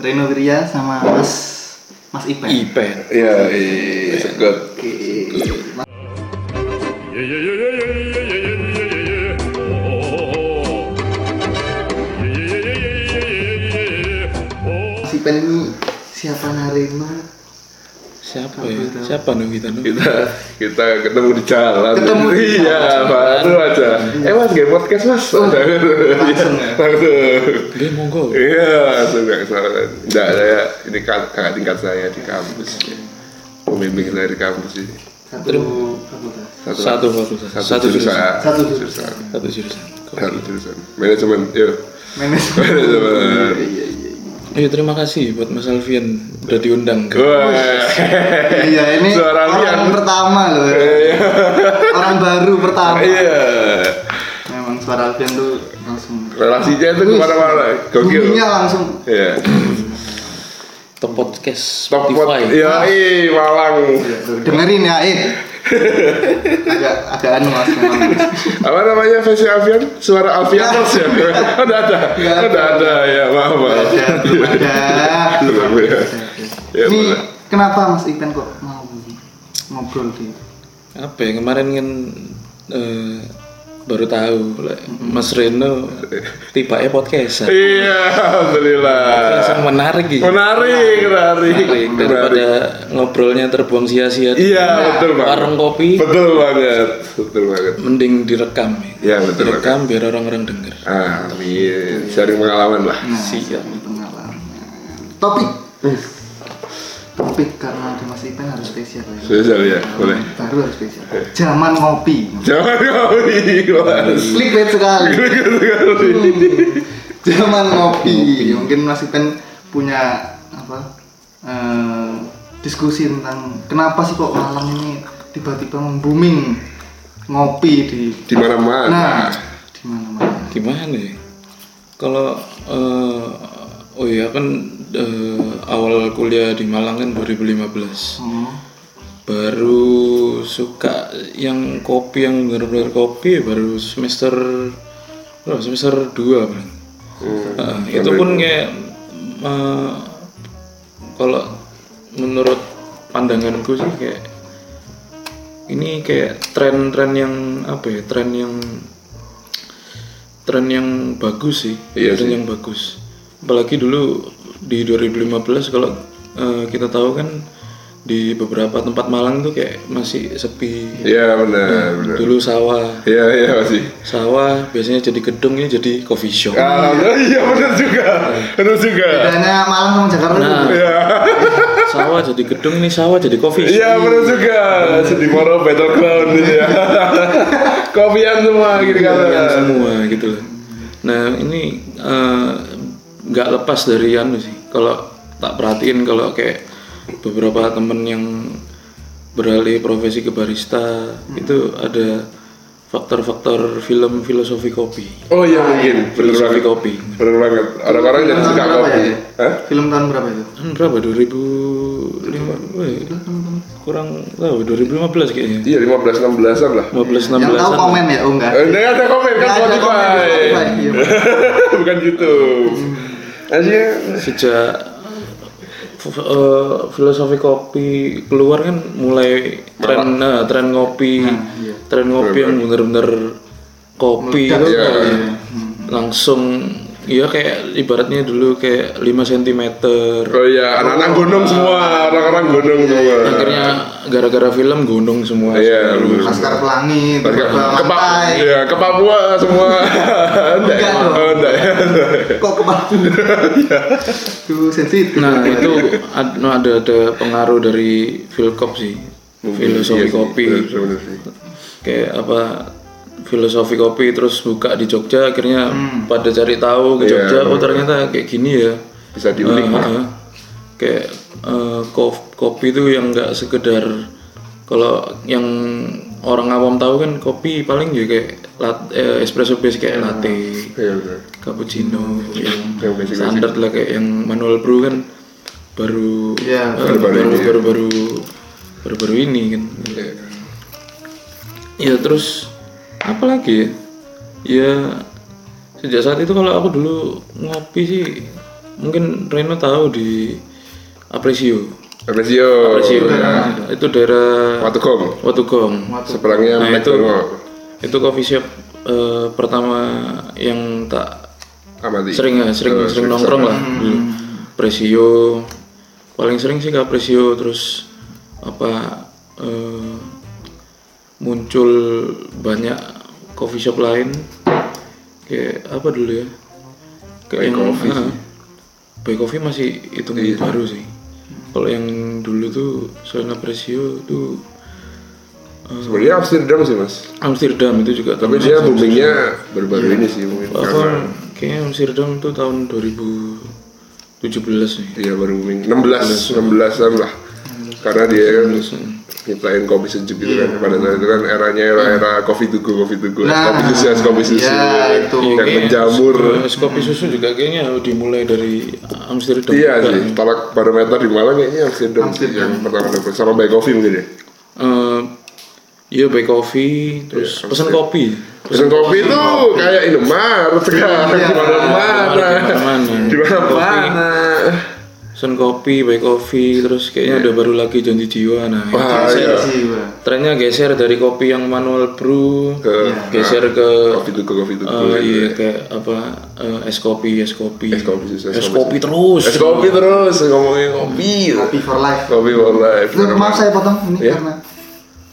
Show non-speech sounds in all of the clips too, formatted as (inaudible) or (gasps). Reno Wirya sama Mas Mas Ipan. Ipen. Iya, iya, iya, good. Oke. Mas- Yeah, yeah, yeah, yeah, yeah, yeah, yeah, yeah, yeah, Oh, oh, oh. Yeah, yeah, yeah, yeah, yeah, yeah, yeah, yeah, Oh. Mas Ipan ini siapa Narema? Siapa Aku ya? tahu. Siapa dong kita dong? Kita kita ketemu di jalan. Ketemu di Iya, baru aja. Eh mas, game podcast mas. Oh, langsung ya? Langsung. Dia monggo. Iya, sudah kesalahan. Enggak, saya ini kak- kakak tingkat saya di kampus. Pembimbing saya di kampus ini. Satu fakultas. Satu fakultas, satu, satu jurusan. jurusan. Satu jurusan. Satu jurusan. Satu jurusan. Manajemen, yuk. (clears throat) (laughs) Manajemen. Manajemen. Iya, iya, Ayo terima kasih buat Mas Alfian udah diundang. Ke. Wah. iya. Iya, ini Suara orang Alfian. pertama loh. ya. (laughs) Orang baru pertama. Iya. Memang suara Alfian tuh langsung Relasinya itu Wih, kemana-mana. Gokil. Bunyinya langsung Iya. Top podcast Top pot. Spotify. Iya, ih, Malang. dengerin ya, (laughs) eh. agak agak anu Mas memang. Apa namanya versi Alfian? Suara Alfian Iya. Mas (laughs) ya? Udah ada. Nggak ada. Udah ada. Ya, maaf, maaf. Ada, belum ada. Belum, ya. Ya, Ini boleh. kenapa Mas Ipan kok mau ngobrol di Apa ya kemarin kan eh, baru tahu lah, Mm-hmm. Mas Reno tiba eh podcast. Iya, alhamdulillah. Yang menarik gitu. Iya. Menarik, menarik, menarik. daripada ngobrolnya terbuang sia-sia. di Iya, betul banget. Warung kopi Betul banget, betul banget. mending direkam. ya. Iya, betul banget. Direkam biar orang-orang denger. Amin. Sharing pengalaman lah. Siap. pengalaman? Topik. Hmm. Topik karena di Mas Ipan harus spesial ya. Spesial ya, boleh. Baru harus spesial. Zaman ngopi. Jangan ngopi, Mas. Clickbait sekali. (laughs) Zaman ngopi. Mungkin Mas Ipan punya apa? eh, diskusi tentang kenapa sih kok Malang ini tiba-tiba booming ngopi di Di mana-mana. Nah, di mana-mana. Gimana ya? Kalau eh, oh iya kan eh, awal kuliah di Malang kan 2015. Oh. Baru suka yang kopi yang benar-benar kopi baru semester oh, semester 2, Bang. Heeh, itu pun kayak eh, kalau menurut pandanganku sih kayak ini kayak tren-tren yang apa ya tren yang tren yang bagus sih Iya tren yang bagus apalagi dulu di 2015 kalau eh, kita tahu kan di beberapa tempat Malang tuh kayak masih sepi Iya, benar, benar. dulu sawah Iya, iya masih. sawah biasanya jadi gedung ini jadi coffee shop Alhamdulillah, iya benar juga. Benar juga. Bedanya Malang sama Jakarta Nah. tuh. Iya. sawah jadi gedung nih sawah jadi coffee shop. Iya, benar juga. Sedih moro battleground ya. (laughs) Kopian semua gitu kan. Yang semua gitu loh. Nah ini eh, nggak lepas dari anu sih. Kalau tak perhatiin kalau kayak beberapa temen yang beralih profesi ke barista itu ada faktor-faktor film filosofi kopi. Oh iya mungkin, benar Filosofi banget. kopi. Bener banget. Orang-orang jadi suka Berapa kopi. ya? Hah? Film tahun berapa itu? Kan berapa? 2005 weh, eh, kurang tahu 2015 kayaknya. Iya 15 16-an lah. 15 Yang tahu 16 komen ya, oh enggak. Eh, Enggak ada komen kan Nggak ada komen di Spotify. Spotify, iya. (laughs) Bukan gitu. Aja sejak f- eh, filosofi kopi keluar kan mulai tren nah, tren ngopi tren ngopi yang bener-bener kopi itu Iya. kayak langsung ya kayak ibaratnya dulu kayak 5 cm Oh iya, anak-anak gunung semua, orang-orang gunung semua. akhirnya gara-gara film gunung semua Iya, bener. Laskar Pelangi, Ke, tiba-tiba ke, Pa- Pantai. iya, ke Papua semua. Enggak. ya? (laughs) Enggak dong. Oh, enggak. ya? Kok ke Papua? Tuh sensitif. nah itu ad- no, ada ada pengaruh dari filkop sih Iya filosofi sih, kopi bener, bener sih. kayak apa filosofi kopi terus buka di Jogja akhirnya pada cari tahu Hmm. Iya, ke Jogja oh bener. ternyata kayak gini ya Bisa diulik. Ah, ah. kayak eh, kof- kopi itu yang nggak sekedar kalau yang orang awam tahu kan kopi paling ya kayak lat- eh, espresso base kayak latte Iya, bener. cappuccino yang Yang basic-basic. standar lah kayak gitu. yang manual brew kan baru Iya, eh, baru-baru baru ini. baru baru baru baru ini kan Iya. ya terus apa lagi ya ya sejak saat itu kalau aku dulu ngopi sih mungkin Reno tahu di Apresio. Apresio. Apresio ya. ya. itu daerah Watukom. Watugong. Seberangnya Nah, Mac itu- Dongo. Itu coffee shop eh, pertama yang tak Amati. sering ya, sering Eh, sering nongkrong lah. Dulu. Presio paling sering sih ke Presio terus apa eh, muncul banyak coffee shop lain kayak apa dulu ya? By Kayak Coffee Iya. ah, By Coffee masih hitung baru sih. Kalau yang dulu tuh selain Presio tuh Sebenarnya Amsterdam sih mas. Amsterdam itu juga Tapi termasuk dia Amsterdam. boomingnya baru-baru ini sih mungkin karena apa kayaknya Amsterdam tuh tahun 2017 nih. dia baru booming 16 16 an lah. Karena dia kan nyiptain kopi sejuk gitu kan Hmm. pada saat itu kan eranya era era kopi to go kopi to go es kopi susu es kopi susu Nah. ya, itu. yang Kayaknya menjamur es kopi susu juga kayaknya dimulai dari ah, Amsterdam iya sih juga. talak barometer di Malang kayaknya Amsterdam, sih yang kan? pertama dapat sama by coffee mungkin ya Eh, iya by coffee terus Iya, pesan Amsterdam. kopi Pesen kopi itu kayak Indomaret kan? sekarang Iya. di mana-mana. Dimana-mana. Di mana-mana. pesan kopi by coffee terus kayaknya ada baru lagi janji jiwa nah Iya. itu Wah, geser. iya. sih Pak. trennya geser dari kopi yang manual brew Ke- geser ke Kopi tuku, kopi tuku. eh, iya kayak apa eh, es kopi es kopi Es kopi susu, es Es kopi kopi susu. terus Es kopi Eh, terus ngomongin kopi. Happy for life. Kopi for life. Itu, maaf saya potong ini Iya. karena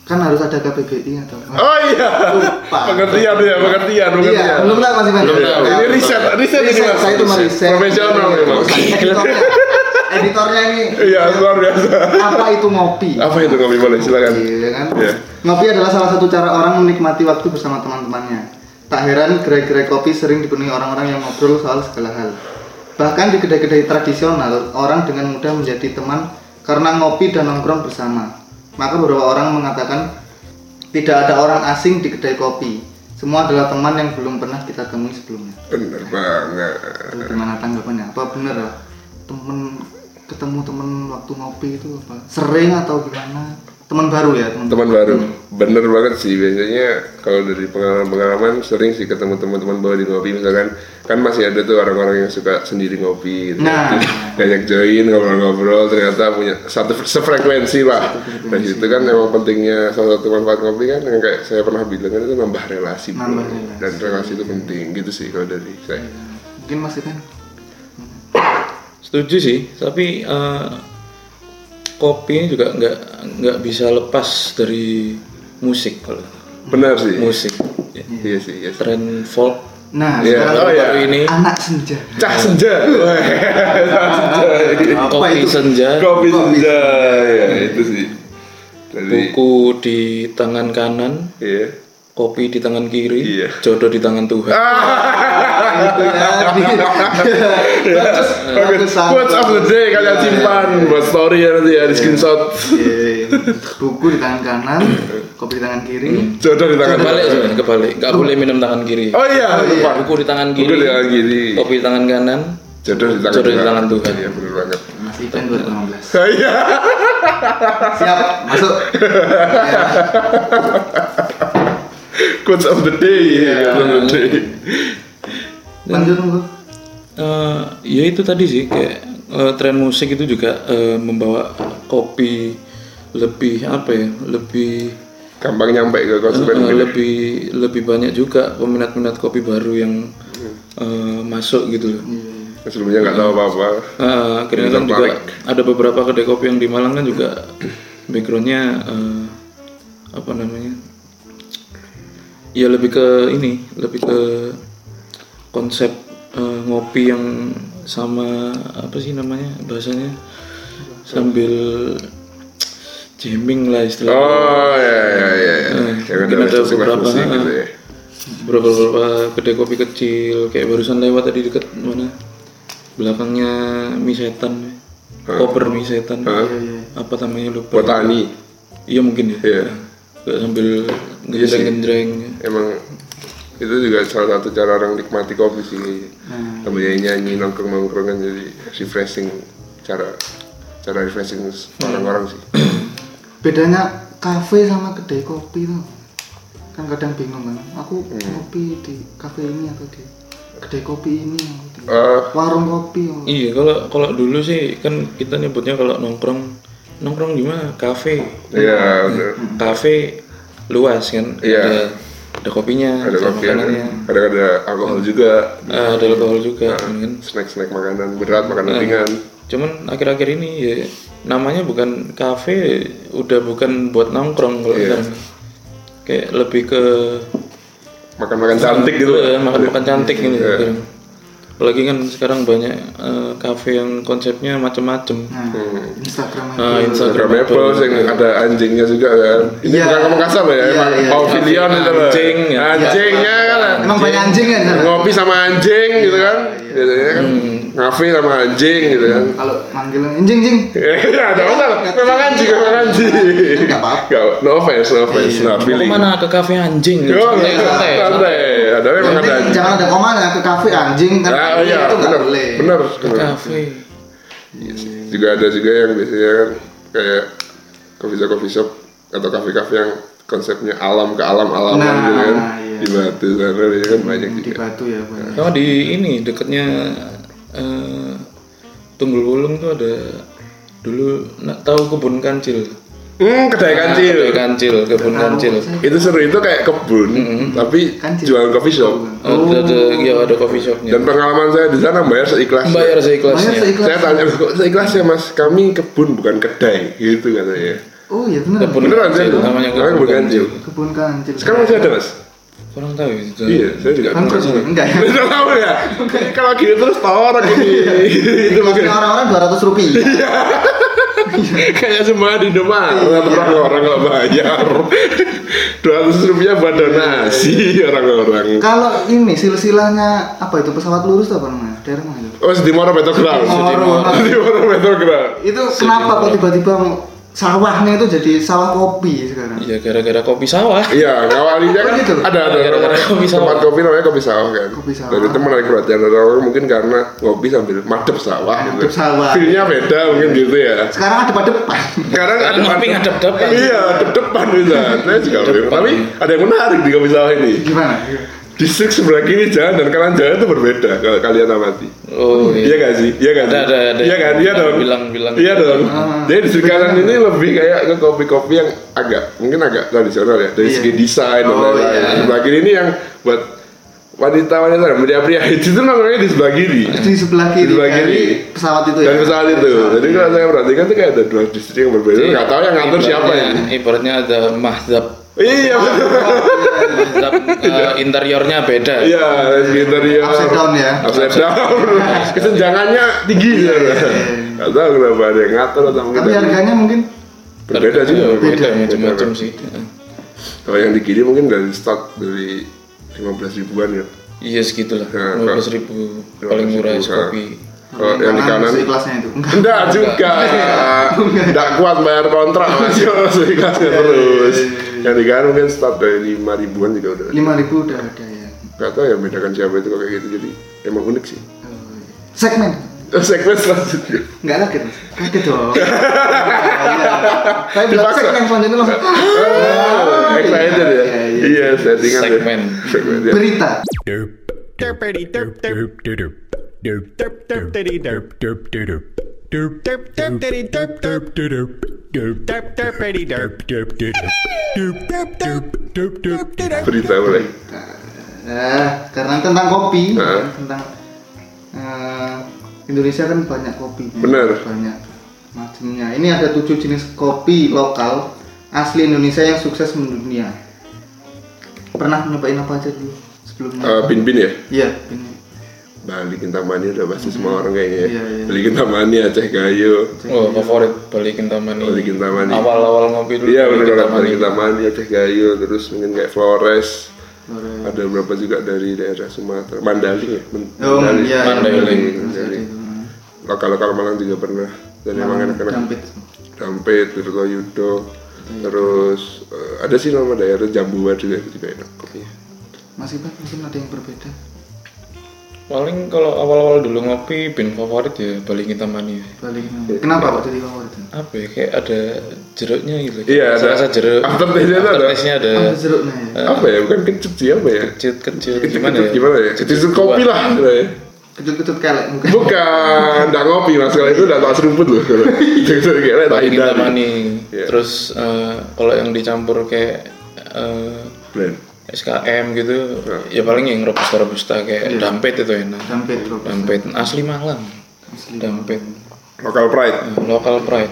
kan harus ada KPBI atau apa? Oh iya. Lupa. Pengertian ya, pengertian, pengertian. Iya, belum tahu masih banyak. Iya, Ini riset, riset ini Riset, Iya, mas. saya itu meriset. Profesional memang. Editornya, editornya ini Iya, luar biasa. apa itu ngopi? Apa itu kopi boleh silakan. Iya kan? Iya. Ngopi adalah salah satu cara orang menikmati waktu bersama teman-temannya. Tak heran gerai-gerai kopi sering dipenuhi orang-orang yang ngobrol soal segala hal. Bahkan di kedai-kedai tradisional, orang dengan mudah menjadi teman karena ngopi dan nongkrong bersama. Maka beberapa orang mengatakan tidak ada orang asing di kedai kopi. Semua adalah teman yang belum pernah kita temui sebelumnya. Bener banget. Gimana tanggapannya? Apa bener lah? Temen ketemu temen waktu ngopi itu apa? Sering atau gimana? Teman baru ya, teman teman baru bener banget sih biasanya kalau dari pengalaman-pengalaman sering sih ketemu teman-teman bawa di ngopi misalkan kan masih ada tuh orang-orang yang suka sendiri ngopi gitu Nah. (laughs) banyak join ngobrol-ngobrol ternyata punya satu sefrekuensi lah dan itu kan memang pentingnya salah satu manfaat ngopi kan yang kayak saya pernah bilang kan itu nambah relasi bro. Nambah relasi. dan relasi itu penting gitu sih kalau dari saya Mungkin Mas Ivan Setuju sih, tapi eh, kopi ini juga nggak nggak bisa lepas dari musik kalau Hmm. benar sih musik iya sih iya sih tren folk Nah, Iya. sekarang Oh, iya. baru ini anak senja. cah senja Weh, cah senja Apa kopi itu? senja kopi senja ya itu sih dari buku di tangan kanan iya kopi di tangan kiri Iya. Ah, jodoh di tangan Tuhan Itu tadi. Iya. Bagus, bagus, Oke, Quotes of the day kalian simpan buat story ya nanti ya di screenshot. Iya. Buku di tangan kanan, kopi di tangan kiri. Jodoh di tangan. kebalik sebenarnya kebalik nggak boleh minum tangan kiri Oh iya, lupa. buku di tangan Buku kiri di tangan kiri. kopi di tangan kanan Jodoh di tangan. Jodoh di tangan Tuhan. Iya, benar banget. Mas Ivan 2016. Ah, Iya. Siap, masuk. Ya. Quotes of the day. Iya, quotes of the day. Lanjut monggo. Eh, ya itu tadi sih kayak eh, tren musik itu juga eh, membawa kopi lebih apa ya lebih Gampang nyampe ke konsumen eh, gitu. lebih lebih banyak juga peminat-peminat kopi baru yang eh, masuk gitu loh. Sebelumnya nggak tahu apa-apa. Eh, akhirnya kan juga tertarik. ada beberapa kedai kopi yang di Malang kan juga backgroundnya eh, apa namanya ya lebih ke ini lebih ke konsep eh, ngopi yang sama apa sih namanya bahasanya sambil jamming lah istilahnya Oh iya iya iya. Yang mungkin ada musik-musik beberapa, ah. gitu ya. beberapa beberapa kedai kopi kecil kayak barusan lewat tadi deket mana belakangnya mie setan Ah. koper mie setan Iya, apa namanya lupa Botani iya mungkin ya Iya. Kayak sambil genjreng-genjreng emang itu juga salah satu cara orang nikmati kopi sih. Nah, Kemudian nyanyi nongkrong nongkrongan jadi refreshing cara cara refreshing orang-orang sih. Bedanya kafe sama kedai kopi tuh. Kan kadang bingung kan. Aku kopi di kafe ini atau di kedai kopi ini gitu. Eh, warung kopi gitu. Iya, kalau kalau dulu sih kan kita nyebutnya kalau nongkrong nongkrong gimana? Kafe. Iya, bener. Kafe luas kan. Iya. Ada, ada kopinya, ada kopi, ada makanannya. ada ada alkohol juga, Eh, ada alkohol juga Ah. kan. snack snack makanan berat, makanan Iya. ringan. Cuman akhir-akhir ini ya namanya bukan kafe, udah bukan buat nongkrong kalau Iya. sekarang. Kayak lebih ke makan makan cantik gitu Iya, Iya. Eh, makan-makan cantik ini sekarang. Apalagi kan sekarang banyak eh, kafe yang konsepnya macam-macam. Iya. nah Instagram itu Nah, Ah, Instagram Instagram Apple yang ada anjingnya juga kan ini Iya. bukan kamu kasar loh ya Iya, emang iya. pavilion itu loh Anjing, ya. anjingnya kan emang banyak Iya, anjing kan sana? ngopi sama anjing gitu kan biasanya kan Hmm. ngafe sama anjing gitu kan kalau manggil anjing anjing ya ada masalah memang anjing memang anjing Nggak apa-apa. Iya. Nggak, no offense no offense nah Mau feeling kemana ke kafe anjing? Yo, Santai, santai, santai. santai ada memang ada Penting anjing jangan ada kemana ke kafe anjing kan Ah, iya, itu nggak benar, boleh benar, Ke benar. kafe. juga ada juga yang biasanya kan kayak coffee shop coffee shop atau kafe kafe yang konsepnya alam ke alam alaman Nah, gitu kan iya. di batu sana biasanya kan banyak di juga batu ya banyak Sama di ini dekatnya eh, Tunggul Wulung tuh ada dulu nak tahu kebun kancil. hmm kedai Nah, kancil Kedai kancil, kebun kancil. itu seru itu kayak kebun tapi Kancil. jualan coffee shop kan. Oh, Ada, ada, Oh. iya, ya, ada coffee shopnya. dan pengalaman saya di sana bayar seikhlasnya Bayar banyak seikhlasnya. seikhlas saya tanya kok seikhlasnya mas kami kebun bukan kedai gitu katanya oh iya benar Kebun beneran saya kancil, namanya namanya kebun kancil kebun kancil sekarang masih ada mas Kurang tahu itu. iya saya juga kan terus (laughs) enggak ya Tidak tahu ya. Kalau gini terus tahu orang ini. (laughs) Itu mungkin Dikasih orang-orang 200 rupiah kayak semua di Demak. Orang-orang orang nggak bayar. (laughs) Dua ratus rupiah buat donasi orang-orang. kalau ini silsilahnya apa itu pesawat lurus tuh apa namanya daerah mana itu Oh, Sedimoro Petrogram. Sedimoro. Sedimoro Petrogram. itu kenapa kok tiba-tiba sawahnya itu jadi sawah kopi sekarang Iya, gara-gara kopi sawah. Iya, ngawalinya kan Oh, gitu? ada ada Gara-gara namanya kopi sawah. tempat kopi namanya kopi sawah kan. Kopi sawah. Dan itu menarik perhatian orang mungkin karena ngopi sambil madep sawah. gitu. Madep sawah. Feelnya beda mungkin gitu ya. sekarang ada pada depan (laughs) Sekarang ada Ngopi ngadep-depan. Iya, depan bisa. Saya juga bingung. Tapi ada yang menarik di kopi sawah ini. gimana Distrik sebelah kiri jalan dan kanan jalan itu berbeda kalau kalian amati. Oh Iya iya. gak sih? Iya gak sih? Ada, ada, ada. Iya kan? Iya dong. Bilang-bilang. Iya dong. Ah. Jadi distrik kanan ini lebih kayak ke kopi-kopi yang agak mungkin agak tradisional ya Iya. dari segi desain dan Oh, lain-lain. iya. Sebelah kiri ini yang buat wanita-wanita dan pria-pria (laughs) itu tuh namanya di sebelah kiri. di sebelah kiri Di sebelah dari kiri. pesawat itu ya Dan pesawat itu. Jadi kalau saya perhatikan tuh kayak ada dua distrik yang berbeda. Iya. Gak tahu yang ngatur siapa Ibaratnya- ini. Ibaratnya ada mahzab Iya betul. Tetap, eh, interiornya beda. Iya, sekitar ya. Upside down ya. Upside down. Kesenjangannya tinggi. Iya, Gak tahu kenapa ada yang ngatur atau mungkin tapi ada- harganya mungkin berbeda juga. Beda macam-macam sih. Heeh. Kalau yang di kiri mungkin dari start dari 15 ribuan ya. Iya segitulah. Ya, Lima belas ribu paling murah es kopi. Kalau Oh, yang di kanan seikhlasnya itu enggak enggak (laughs) juga. Enggak kuat bayar kontrak masih Iya, harus dikasih terus. Yang di kanan mungkin start dari 5 ribuan juga udah. lima ribu udah ada ya Gak tau ya bedakan siapa itu kalau kayak gitu jadi emang unik sih. Eh, segmen Terus Segmen selanjutnya. enggak kaget Mas. kaget (laughs) dong saya bilang Dipaksa. segmen selanjutnya langsung Oh, excited ya. Iya, iya. Iya, settingan ya. Segmen. Segmen ya. berita Derp. Derpity derp derp derp derp derp derp derp derp derp derp derp derp derp derp derp derp derp derp derp derpity derp derp derp derp derp derp derp derp derp Berita mulai. Eh, karena tentang kopi, ya, Heeh. tentang eh, Indonesia kan banyak kopi, Bener. banyak macamnya. Ini ada tujuh jenis kopi lokal asli Indonesia yang sukses mendunia. Pernah nyobain apa aja dulu Eh, sebelumnya? Bin-bin ya. Iya, ini Bali Kintamani udah pasti semua orang kayaknya ya. Iya, iya. Bali Kintamani Aceh Gayo. Oh favorit balikin taman Bali Kintamani. Awal-awal ngopi dulu. Iya benar Balikin kalau Taman Bali ini. Kintamani Aceh Gayo terus mungkin kayak Flores. Ada beberapa juga dari daerah Sumatera, Mandaling ya. Men- Oh, iya, iya. Mandaling. Mandaling. Lokal-lokal Malang juga pernah. Dan emang eh. enak-enak. Dampit. Iya. Dampit, Tirto Yudo. Terus eh, ada sih Iya. nama daerah Jambuwa juga itu juga enak kopinya. Mas Iqbal mungkin ada yang berbeda. Paling kalau awal-awal dulu ngopi band favorit ya Bali Kita Mania. Balik. Eh, Kenapa kok jadi favorit? Apa ya kayak ada jeruknya gitu. Iya, ada- Rasa jeruk. aftertaste-nya ada. Aftertaste-nya ada. Apa jeruknya ya? apa ya bukan kecut sih apa ya Kecut kecut kecut gimana ya? gimana ya kecut kopi lah gitu ya. Kecut-kecut kelek mungkin. bukan nggak ngopi mas kalau itu udah tak serumput loh kalau Iya. kecut kayak tak Bali Kita hindari Mania. Iya. Terus eh, kalau yang dicampur kayak eh, Blend. SKM gitu, Iya. ya paling yang robusta robusta kayak dampet itu enak. Dampet bro. Dampet asli Malang. Dampet Iya. local pride eh, local pride.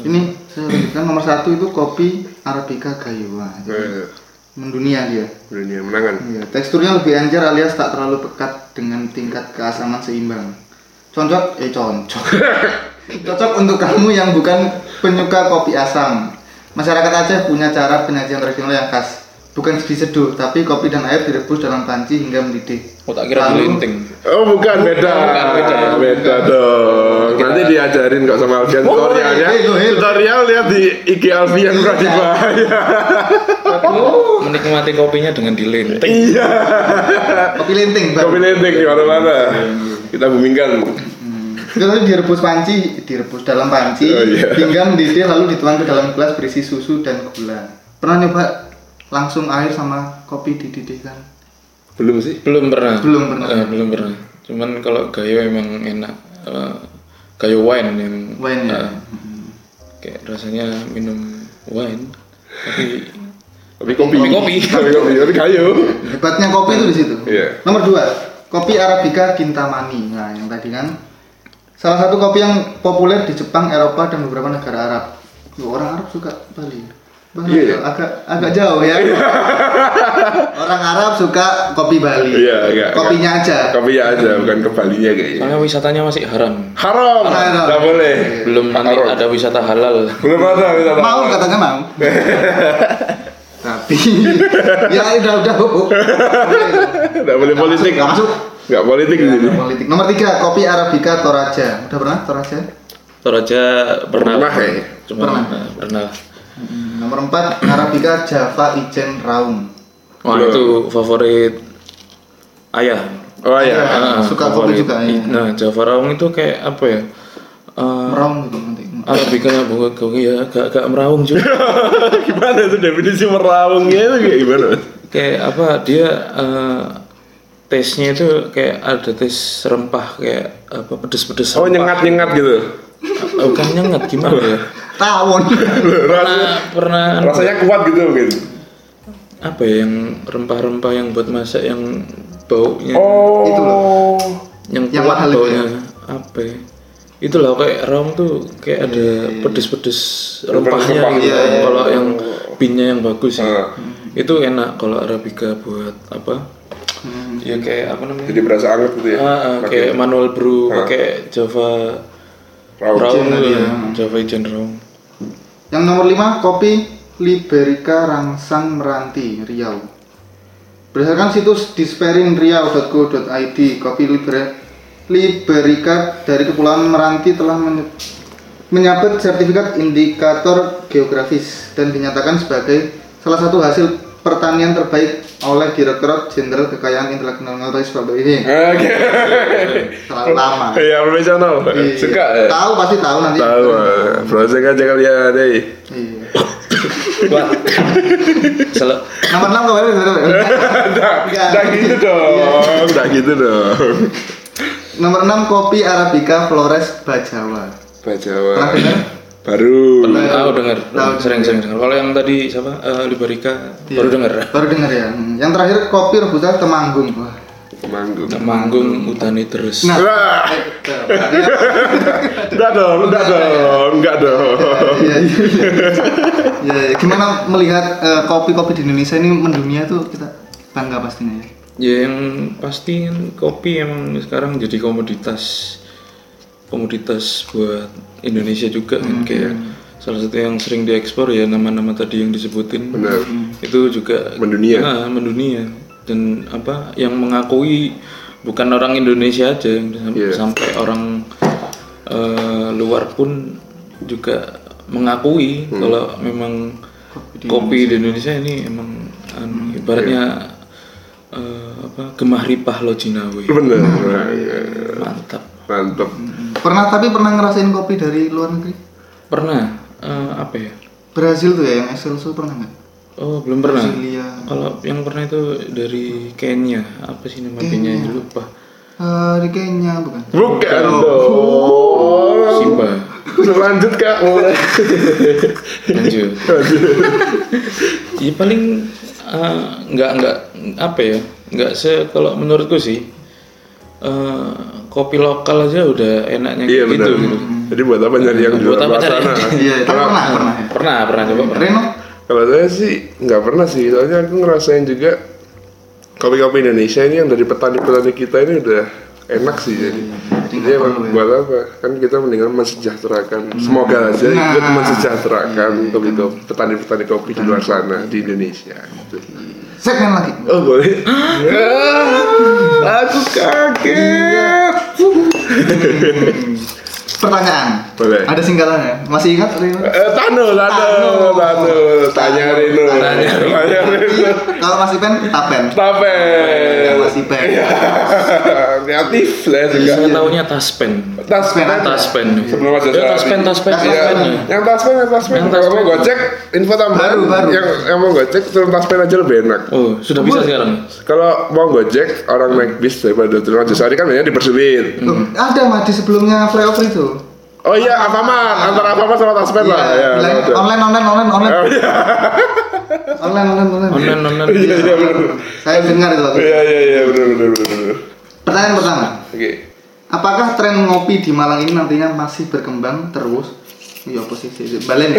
Ini saya lanjutkan nomor satu itu kopi Arabica Gayua. Nah, Mendunia dia. dunia menangan Iya, teksturnya lebih encer alias tak terlalu pekat dengan tingkat keasaman seimbang. Cocok, eh cocok. cocok untuk kamu yang bukan penyuka kopi asam. Masyarakat Aceh punya cara penyajian tradisional yang khas. Bukan diseduh, tapi kopi dan air direbus dalam panci hingga mendidih. Oh tak kira Lalu- dilinting. Oh bukan beda, bukan, beda. beda dong. Nanti diajarin kok sama Alfian tutorialnya. eh, eh, eh. Tutorial lihat di IG Alfian Pradibaya. Menikmati kopinya dengan dilinting. Iya. Kopi lenting, Bang. Kopi lentik di mana-mana. Kita boomingkan. Lalu direbus panci, direbus dalam panci Oh, iya. hingga mendidih lalu dituang ke dalam gelas berisi susu dan gula. Pernah nyoba langsung air sama kopi dididihkan? Belum sih? Belum pernah. Belum pernah. Eh, belum pernah. Cuman kalau gayo emang enak. Eh, gayo wine yang Wine ya. Nah. eh, kayak rasanya minum wine tapi Tapi kopi. Tapi kopi. Tapi (laughs) kopi. Tapi kayu. Hebatnya kopi itu di situ. Iya. Nomor dua, kopi Arabica Kintamani. Nah, yang tadi kan salah satu kopi yang populer di Jepang, Eropa dan beberapa negara Arab. Loh, orang Arab suka Bali. Bali Iya, iya. agak agak jauh ya. orang Arab suka kopi Bali. Iya, enggak. Kopinya aja. Kopinya aja, bukan kebalinya kayaknya. karena wisatanya masih haram. Haram. Haram. Enggak boleh. Belum nanti Haram. ada wisata halal. Belum ada kita tahu. Mau katanya mau. (laughs) Tapi ya udah udah bu. Enggak boleh politik. Nggak masuk. Enggak politik di sini. Politik. Nomor tiga, kopi Arabica Toraja. Udah pernah Toraja? Toraja pernah. Pernah, ya? Cuma Pernah. eh, pernah. Hmm, Nomor 4 Arabica Java Ijen Raum. Wah Belum. itu favorit ayah. Oh ya. Ah, suka kopi favorit. juga ya. Nah Java Raung itu kayak apa ya? Eh, Raum gitu nanti. Arabica bunga kau ya gak gak meraung juga (laughs) Gimana itu definisi merawungnya itu kayak gimana? Mas? kayak apa dia eh, tesnya itu kayak ada tes rempah kayak apa pedes-pedes Oh rempah. nyengat-nyengat gitu. Eh, bukan nyengat gimana (laughs) ya Tawon. (laughs) pernah Rasanya, pernah rasanya kuat gitu mungkin. apa ya yang rempah-rempah yang buat masak yang baunya Oh. Itu loh. yang yang kuat mahal itu baunya ya? apa ya? itulah kayak raung tuh kayak ada pedes-pedes rempahnya rempah, gitu iya, iya. kalau yang pinnya yang bagus Ah. ya itu enak kalau arabica buat apa ya kayak apa namanya Jadi berasa anget gitu ya. Ah, ah, Pakai (laughs) kayak manual brew pakai java raung. raung tadi gitu. ya. java ijen raung Yang nomor 5 kopi Liberica Rangsang Meranti Riau. Berdasarkan situs disperinriau.co.id, kopi Liber- Liberica dari Kepulauan Meranti telah menye- menyabet sertifikat indikator geografis dan dinyatakan sebagai salah satu hasil pertanian terbaik oleh Direktorat Jenderal Kekayaan Intelektual Nasional ini. Oke. Terlalu lama. Iya profesional. Suka. ya? Tahu pasti tahu nanti. Tahu. ah. Browsing aja ya, kalian deh. Iya. wah salah Nomor 6 kemarin Enggak. Udah gitu dong. Udah gitu dong. Nomor 6 kopi Arabica Flores Bajawa. Bajawa. Pernah dengar? Baru. pernah tahu dengar Tahu. sering sering dengar kalau yang tadi siapa Eh, liberica baru Iya. dengar Baru dengar ya. Hmm. Yang terakhir kopi Robusta Temanggung. Wah. Manggung. manggung utani terus Nah, Iya, Wah, enggak dong, enggak dong, enggak dong. Iya, iya, iya. Iya, iya. Gimana melihat eh, kopi-kopi di Indonesia ini mendunia tuh kita bangga pastinya ya. Ya yang pasti kan kopi emang sekarang jadi komoditas komoditas buat Indonesia juga Hmm. kan kayak salah satu yang sering diekspor ya nama-nama tadi yang disebutin Benar. itu juga Mendunia. Nah, mendunia dan apa yang mengakui bukan orang Indonesia aja yang sam- Iya. sampai orang eh, luar pun juga mengakui kalau memang kopi di Indonesia ini emang anu, ibaratnya eh, apa Gemah Ripah Lojinawi. Bener. Mantap. Mantap. Hmm. Pernah tapi pernah ngerasain kopi dari luar negeri? Pernah eh, apa ya? Brazil tuh ya yang Excelsior pernah nggak? Oh, belum pernah. Brasilia. Kalau yang pernah itu dari Kenya, apa sih nama bandnya yang lupa. Eh, di Kenya bukan? Bukan dong. Simba. Lanjut kak mulai. Lanjut. (laughs) ya paling eh, nggak nggak apa ya? Nggak se kalau menurutku sih eh, kopi lokal aja udah enaknya Iya kayak benar. gitu. gitu. Jadi buat apa nyari yang di Buat luar apa cari? sana? Iya, tapi pernah, pernah ya. Pernah pernah coba pernah. Reno? Kalau saya sih nggak pernah sih, soalnya aku ngerasain juga kopi-kopi Indonesia ini yang dari petani-petani kita ini udah enak sih jadi. Iya, Jadi nggak emang perlu ya. buat apa? Kan kita mendingan mensejahterakan. Semoga aja Nah. ikut mensejahterakan kopi-kopi petani-petani iya, kopi di luar sana di Indonesia. gitu. Segmen lagi. Oh (gasps) boleh? Ah, (laughs) aku kaget. Pertanyaan. Boleh. Ada singkatan ya? Masih ingat Reno? Eh, Tano, Tano, Tano, tanya Rino, tanya (laughs) Rino, Kalau masih pen, tapen. Tapen. Yang masih pen. Iya. (laughs) kreatif saya juga Saya taunya taspen. taspen Taspen. sebelum ada Iya. Ya, taspen taspen Taspen. taspen. yang taspen yang taspen Yang kalau taspen. mau gocek info tambahan Baru, baru. yang yang mau gocek turun taspen aja lebih enak Oh, sudah bisa sekarang. kalau mau gojek orang naik bis daripada turun aja sehari kan banyak dipersulit Loh, ada mah di sebelumnya flyover itu. oh iya Alfamart antara Alfamart sama taspen lah ya Iya, bilang, udah. online, online, online, online. (laughs) Oh, iya. Online, online, online. Online online. iya iya benar Saya dengar itu waktu. itu. iya iya iya benar benar benar, benar Pertanyaan pertama. oke Apakah tren ngopi di Malang ini nantinya masih berkembang terus? Iya apa sih? sih, sih. Balen (laughs) ya?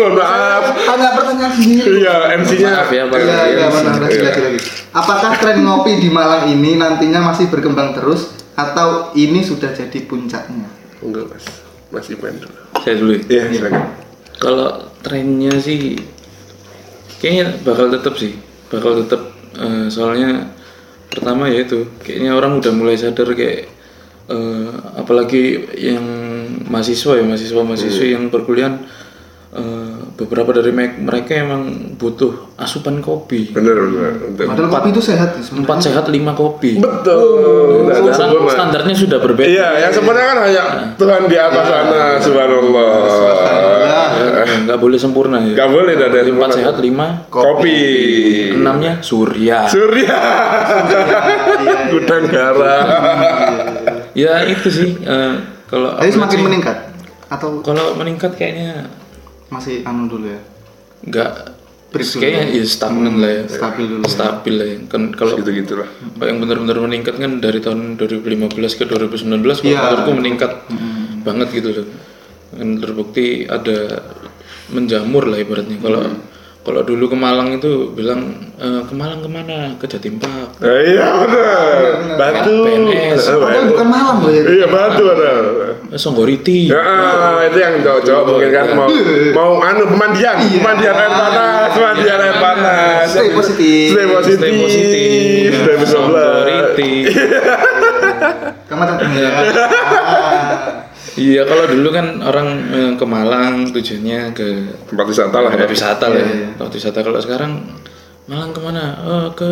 mohon maaf Tanya pertanyaan sendiri. iya MC-nya Maaf ya, Pak. Iya, iya, benar. Iya. Lagi, lagi, lagi. Apakah tren ngopi di Malang ini nantinya masih berkembang terus? Atau ini sudah jadi puncaknya? enggak mas masih main dulu Saya dulu. ya. iya silakan Kalau trennya sih kayaknya bakal tetap sih, bakal tetap Eh, soalnya pertama ya itu kayaknya orang udah mulai sadar kayak eh, apalagi yang mahasiswa ya mahasiswa Hmm. mahasiswi yang perkuliahan eh, beberapa dari me- mereka emang butuh asupan kopi benar benar benar. Padahal kopi itu sehat ya sebenarnya. empat sehat lima kopi Betul. Tidak ada sekarang sempurna. standarnya sudah berbeda Iya, yang sempurna kan hanya Tuhan di atas sana, Iya. subhanallah. Iya, Eh, nggak boleh sempurna ya Gak boleh tidak ada yang empat sempurna. sehat lima Kopi. Nah. enamnya surya Surya. Iya, Gudang garam. ya itu sih eh, kalau Tapi aku semakin sih, meningkat atau kalau meningkat kayaknya masih anu dulu ya? nggak Break dulu. kayaknya ya stagnan lah ya Stabil dulu. stabil lah ya kan kalau Gitu-gitulah. kalau yang benar-benar meningkat kan dari tahun 2015 ke 2019 kalau Iya. menurutku meningkat banget gitu loh dan terbukti ada menjamur lah ibaratnya kalau kalau dulu ke Malang itu bilang "Eh, ke Malang kemana ke Jatim Park Nah, iya benar. Batu. PNS. Eh, Padahal batu. bukan Malang loh ya. Iya batu ada. eh, Songgoriti Iya, Ya, ah, itu yang cowok-cowok mungkin kan mau mau anu pemandian, pemandian air panas, pemandian air panas. Stay positif. Iya. Stay positif. Stay positif, Stay positif. Songgoriti. Kamu tak ya. Iya kalau dulu kan orang eh, ke Malang tujuannya ke Tempat wisata lah ya. tempat wisata lah ya. Tempat wisata kalau sekarang Malang kemana? Eh, ke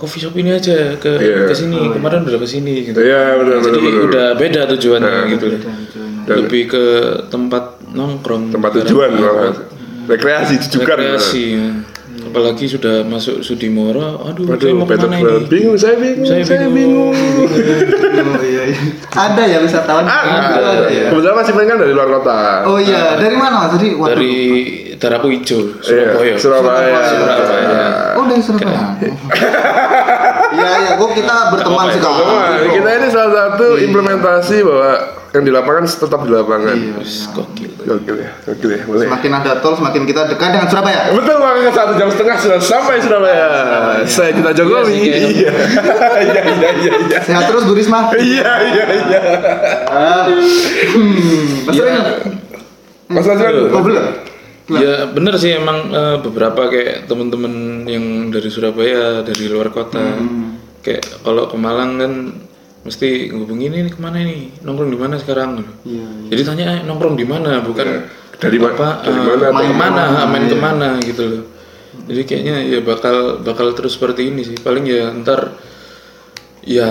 coffee shop ini aja ke Iya. ke sini kemarin udah ke sini gitu. Iya, benar, Jadi benar, benar. udah beda tujuannya gitu. Nah, Dan- Lebih ke tempat nongkrong. tempat ibarat- tujuan malah. rekreasi jujukan rekreasi. ya. Apalagi sudah masuk Sudimoro, aduh, saya Waduh, mau Peter kemana Pan. ini? bingung saya bingung saya, Saya bingung, Oh, iya, iya. Ada ya wisatawan? Ah, Ada, ada ya. kebetulan masih pengen dari luar kota Oh iya, dari mana? Tadi waduh. Dari Darapu Iya, Ijo, Surabaya. Surabaya Surabaya. Oh, dari Surabaya. (laughs) Iya, iya, kok kita berteman Iya. sekali. Wah, Ah, kita ini salah satu Iya. implementasi bahwa yang di lapangan tetap di lapangan Iya, Terus iya. Gokil. gokil ya gokil ya boleh Semakin ada tol, semakin kita dekat dengan Surabaya. betul banget satu jam setengah sudah sampai Surabaya saya kita Jokowi Iya sih, iya iya iya iya iya Sehat terus Bu Risma. iya iya iya Ah. Hmm, Mas Reno. Mas Azran Oh, belum. Ya bener sih emang eh, beberapa kayak temen-temen yang dari Surabaya, dari luar kota. Kayak kalau ke Malang kan mesti ngubungin ini kemana ini, nongkrong di mana sekarang. Iya, Jadi tanya "Eh, nongkrong di mana, bukan Dari ma- apa, dari eh, mana atau main kemana? kemana, ah, main Iya. kemana gitu loh. Jadi kayaknya ya bakal bakal terus seperti ini sih. Paling ya ntar ya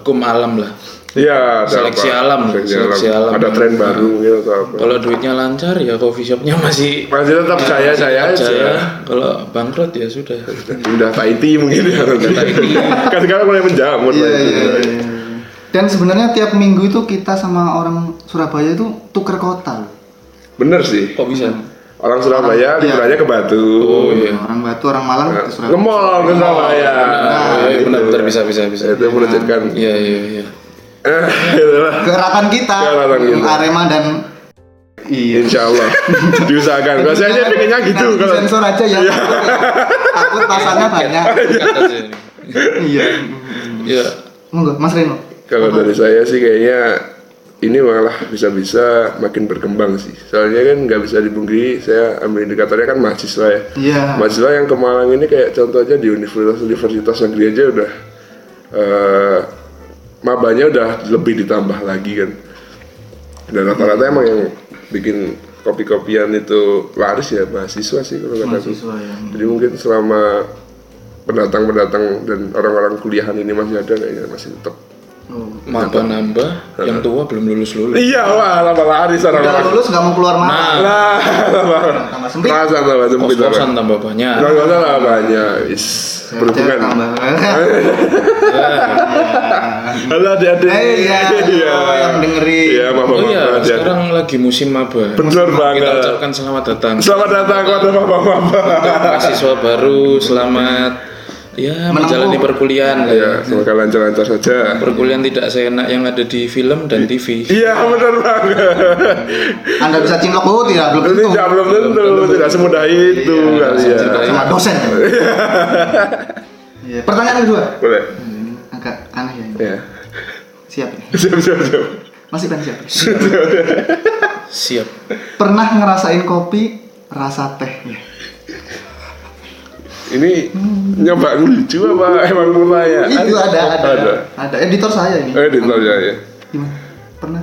hukum alam lah. Iya, ada Seleksi apa? alam, seleksi alam. Ada tren baru gitu atau apa? Kalau duitnya lancar ya coffee shopnya masih Masih tetap jaya jaya Iya, tetap aja. jaya. Kalau bangkrut ya sudah. Udah IT mungkin ya. kan sekarang mulai menjamur. Iya, Pak. iya, iya. Dan sebenarnya tiap minggu itu kita sama orang Surabaya itu tuker kota loh. Bener sih. Kok bisa? Orang Surabaya Iya. liburannya ke Batu. Oh iya. Orang Batu, orang Malang ke Surabaya. Nah, Ngemol ke Surabaya. Ah, iya, Gitu. benar benar bisa bisa bisa. Itu melecehkan. Iya iya iya. Eh, gitu lah. Gerakan kita, Gerakan kita. Arema dan Iya. Insya Allah (laughs) diusahakan. Kalau saya aja pengennya gitu Nanti kalau Iya. sensor aja ya. Takut pasannya banyak. Kata saya ini. Iya. Iya. Monggo, Mas Reno. kalau dari saya sih kayaknya ini malah bisa-bisa makin berkembang sih. Soalnya kan nggak bisa dipungkiri saya ambil indikatornya kan mahasiswa ya. Iya. Mahasiswa yang ke Malang ini kayak contoh aja di universitas-universitas negeri aja udah eh mabanya udah lebih ditambah lagi kan. Dan rata-rata emang yang bikin kopi-kopian itu laris ya mahasiswa sih kalau kata aku. Mahasiswa ya. Jadi mungkin selama pendatang-pendatang dan orang-orang kuliahan ini masih ada kayaknya masih tetap. Oh. Maba nambah, yang tua belum lulus lulus. Iya wah lama laris Udah orang-orang. lulus nggak mau keluar malam. Nah, Lah, tambah- Tambah sempit. Rasa tambah sempit. kos-kosan tambah banyak. Kalau salah banyak is Jajan berhubungan. tambah. (laughs) Halo adik-adik. Eh, iya. Iya. Yang dengerin. Iya, mama Oh mama. iya, sekarang lagi musim maba. Bener Kita banget. ucapkan selamat datang. Selamat datang kepada mama mama. Untuk mahasiswa baru, selamat ya menjalani perkuliahan lah ya. Ya, semoga lancar-lancar saja. Perkuliahan tidak seenak yang ada di film dan TV. Iya, benar banget. Anda bisa cinlok oh tidak belum Ini tentu. Iya, tidak belum tentu, tidak semudah itu kali ya. semudah itu. Sama (laughs) dosen. Iya. Pertanyaan kedua. Boleh. Ini agak aneh ya. ini. Ya. Siap ya. Siap, siap, siap. Masih kan siap. Siap. Pernah ngerasain kopi rasa teh? Ya. Ini nyoba lucu apa emang mulai ya? Itu ada, ada, Ada. ada. Editor saya ini. Eh, di tol ya. ya. Gimana? Pernah?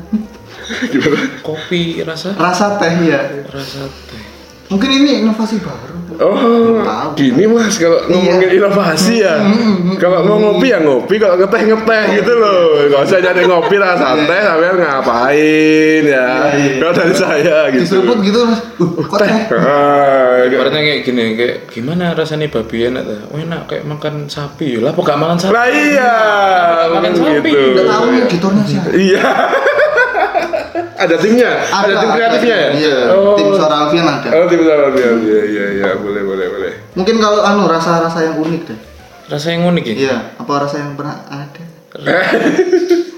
Gimana? Kopi rasa Rasa teh ya. rasa teh. Mungkin ini inovasi baru. Oh, Tahu. gini mas kalau Iya. ngomongin inovasi ya, Mm, kalau mau ngopi ya ngopi, kalau ngeteh ngeteh gitu loh. Gak usah nyari ngopi lah santai, sambil ngapain ya. Iya, iya. Kalau dari saya gitu. Eh, Diseruput gitu, Mas. Uh, kok teh? Ah, gak- Ibaratnya kayak gini, kayak gimana rasanya babi enak tuh? Oh, enak kayak makan sapi. Lah, apa gak makan sapi? Lah iya, Makan sapi, gitu. Udah tahu nih ya. editornya siapa. Iya. Ada timnya, ada, tim kreatifnya ya. Iya, Oh. tim suara Alfian ada. Oh, tim suara Alfian. Iya, iya, iya, boleh, boleh, boleh. Mungkin kalau anu rasa-rasa yang unik deh. Rasa yang unik ya? Iya, apa rasa yang pernah ada? Gak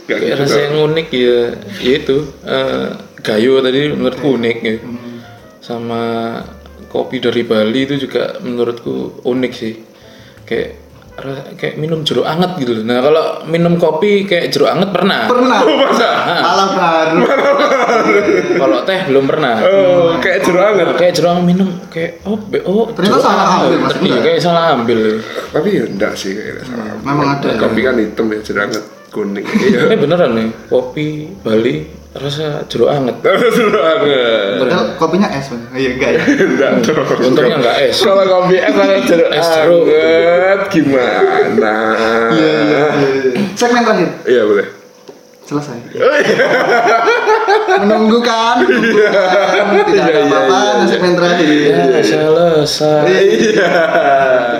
Kayak Iya, gitu. rasa yang unik ya, ya itu eh, gayo tadi Iya. menurutku unik ya. Hmm. Sama kopi dari Bali itu juga menurutku unik sih. Kayak ra- kayak minum jeruk anget gitu loh. Nah, kalau minum kopi kayak jeruk anget pernah. Nah, Pernah. Malah baru. Kalau teh belum pernah. Oh, kayak jeruk anget. Kayak jeruk anget minum kayak oh, be- oh Ternyata jeruk salah anget. ambil, Mas. Iya, Bener. kayak salah ambil. Tapi ya enggak sih kayaknya salah. Memang ada. ya? Kopi kan hitam ya, jerangat kuning. (laughs) Iya. Ini beneran nih, kopi Bali rasa jeruk anget. Seru banget. Padahal kopinya es, Bang. Iya, enggak ya. Enggak dong. Untungnya enggak es. Kalau kopi es ada jeruk Es jeruk. anget gimana? Iya, iya, iya. Segmen terakhir. Iya boleh. Selesai. Menunggukan. Tidak ada apa-apa. Nah, Segmen terakhir. Ya, selesai. Iya.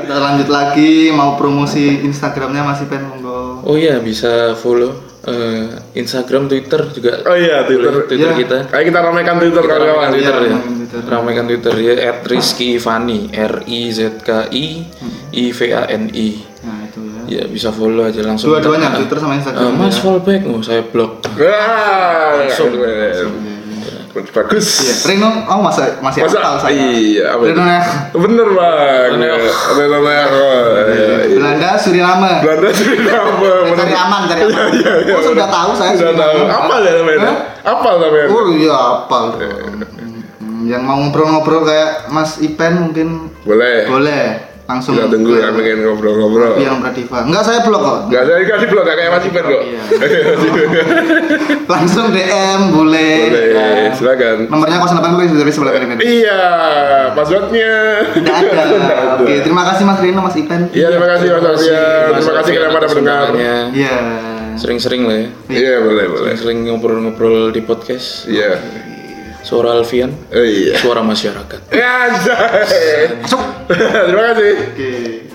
Kita lanjut lagi mau promosi Instagramnya masih pengen monggo. Oh iya bisa follow eh, Instagram, Twitter juga. Oh iya Twitter. Twitter Iya. kita. Ayo kita ramaikan Twitter Kita ramaikan kawan-kawan. Twitter Iya, ya. ramaikan Twitter. Ramaikan Twitter ya @rizkyivani R I Z K I Hmm. I V A N I. Nah, itu ya. Ya bisa follow aja langsung. Dua-duanya, Ah, Twitter sama Instagram, eh, Mas ya. follow back, oh, saya blog. Wah, keren. Bagus. Iya, Reno, oh masa masih Masa? hafal saya. Iya, apa Reno itu? ya. Bener bang. Reno Nero. Iya, iya. Belanda, Suriname. Belanda (laughs) Suriname. Cari bener. aman, cari aman. Iya, iya, Oh, sudah bener. tahu saya Sudah Suriname. tahu. Apa ya namanya? Hah? Apa namanya? Oh iya, hafal. Hmm, Yang mau ngobrol-ngobrol kayak Mas Ipen mungkin Boleh. boleh. Iya. langsung Iya. kita tunggu ya pengen ngobrol-ngobrol yang Pradiva enggak saya blok (laughs) kok nggak saya dikasih blok nggak kayak Mas Ipen kok Iya. langsung DM boleh, Ya. boleh silakan nomornya 08 dari sebelah kanan ini (laughs) iya passwordnya tidak (laughs) ada oke terima kasih Mas Rino Mas Ipan iya terima kasih Mas Alfian Mas terima kasih Alfian kalian pada atas mendengar undangannya. iya ya. Sering-sering lah ya. iya boleh boleh Sering-sering ngobrol-ngobrol di podcast. iya Suara Alfian, Eh, iya (laughs) suara masyarakat. Ya, anjay. masuk (laughs) terima kasih oke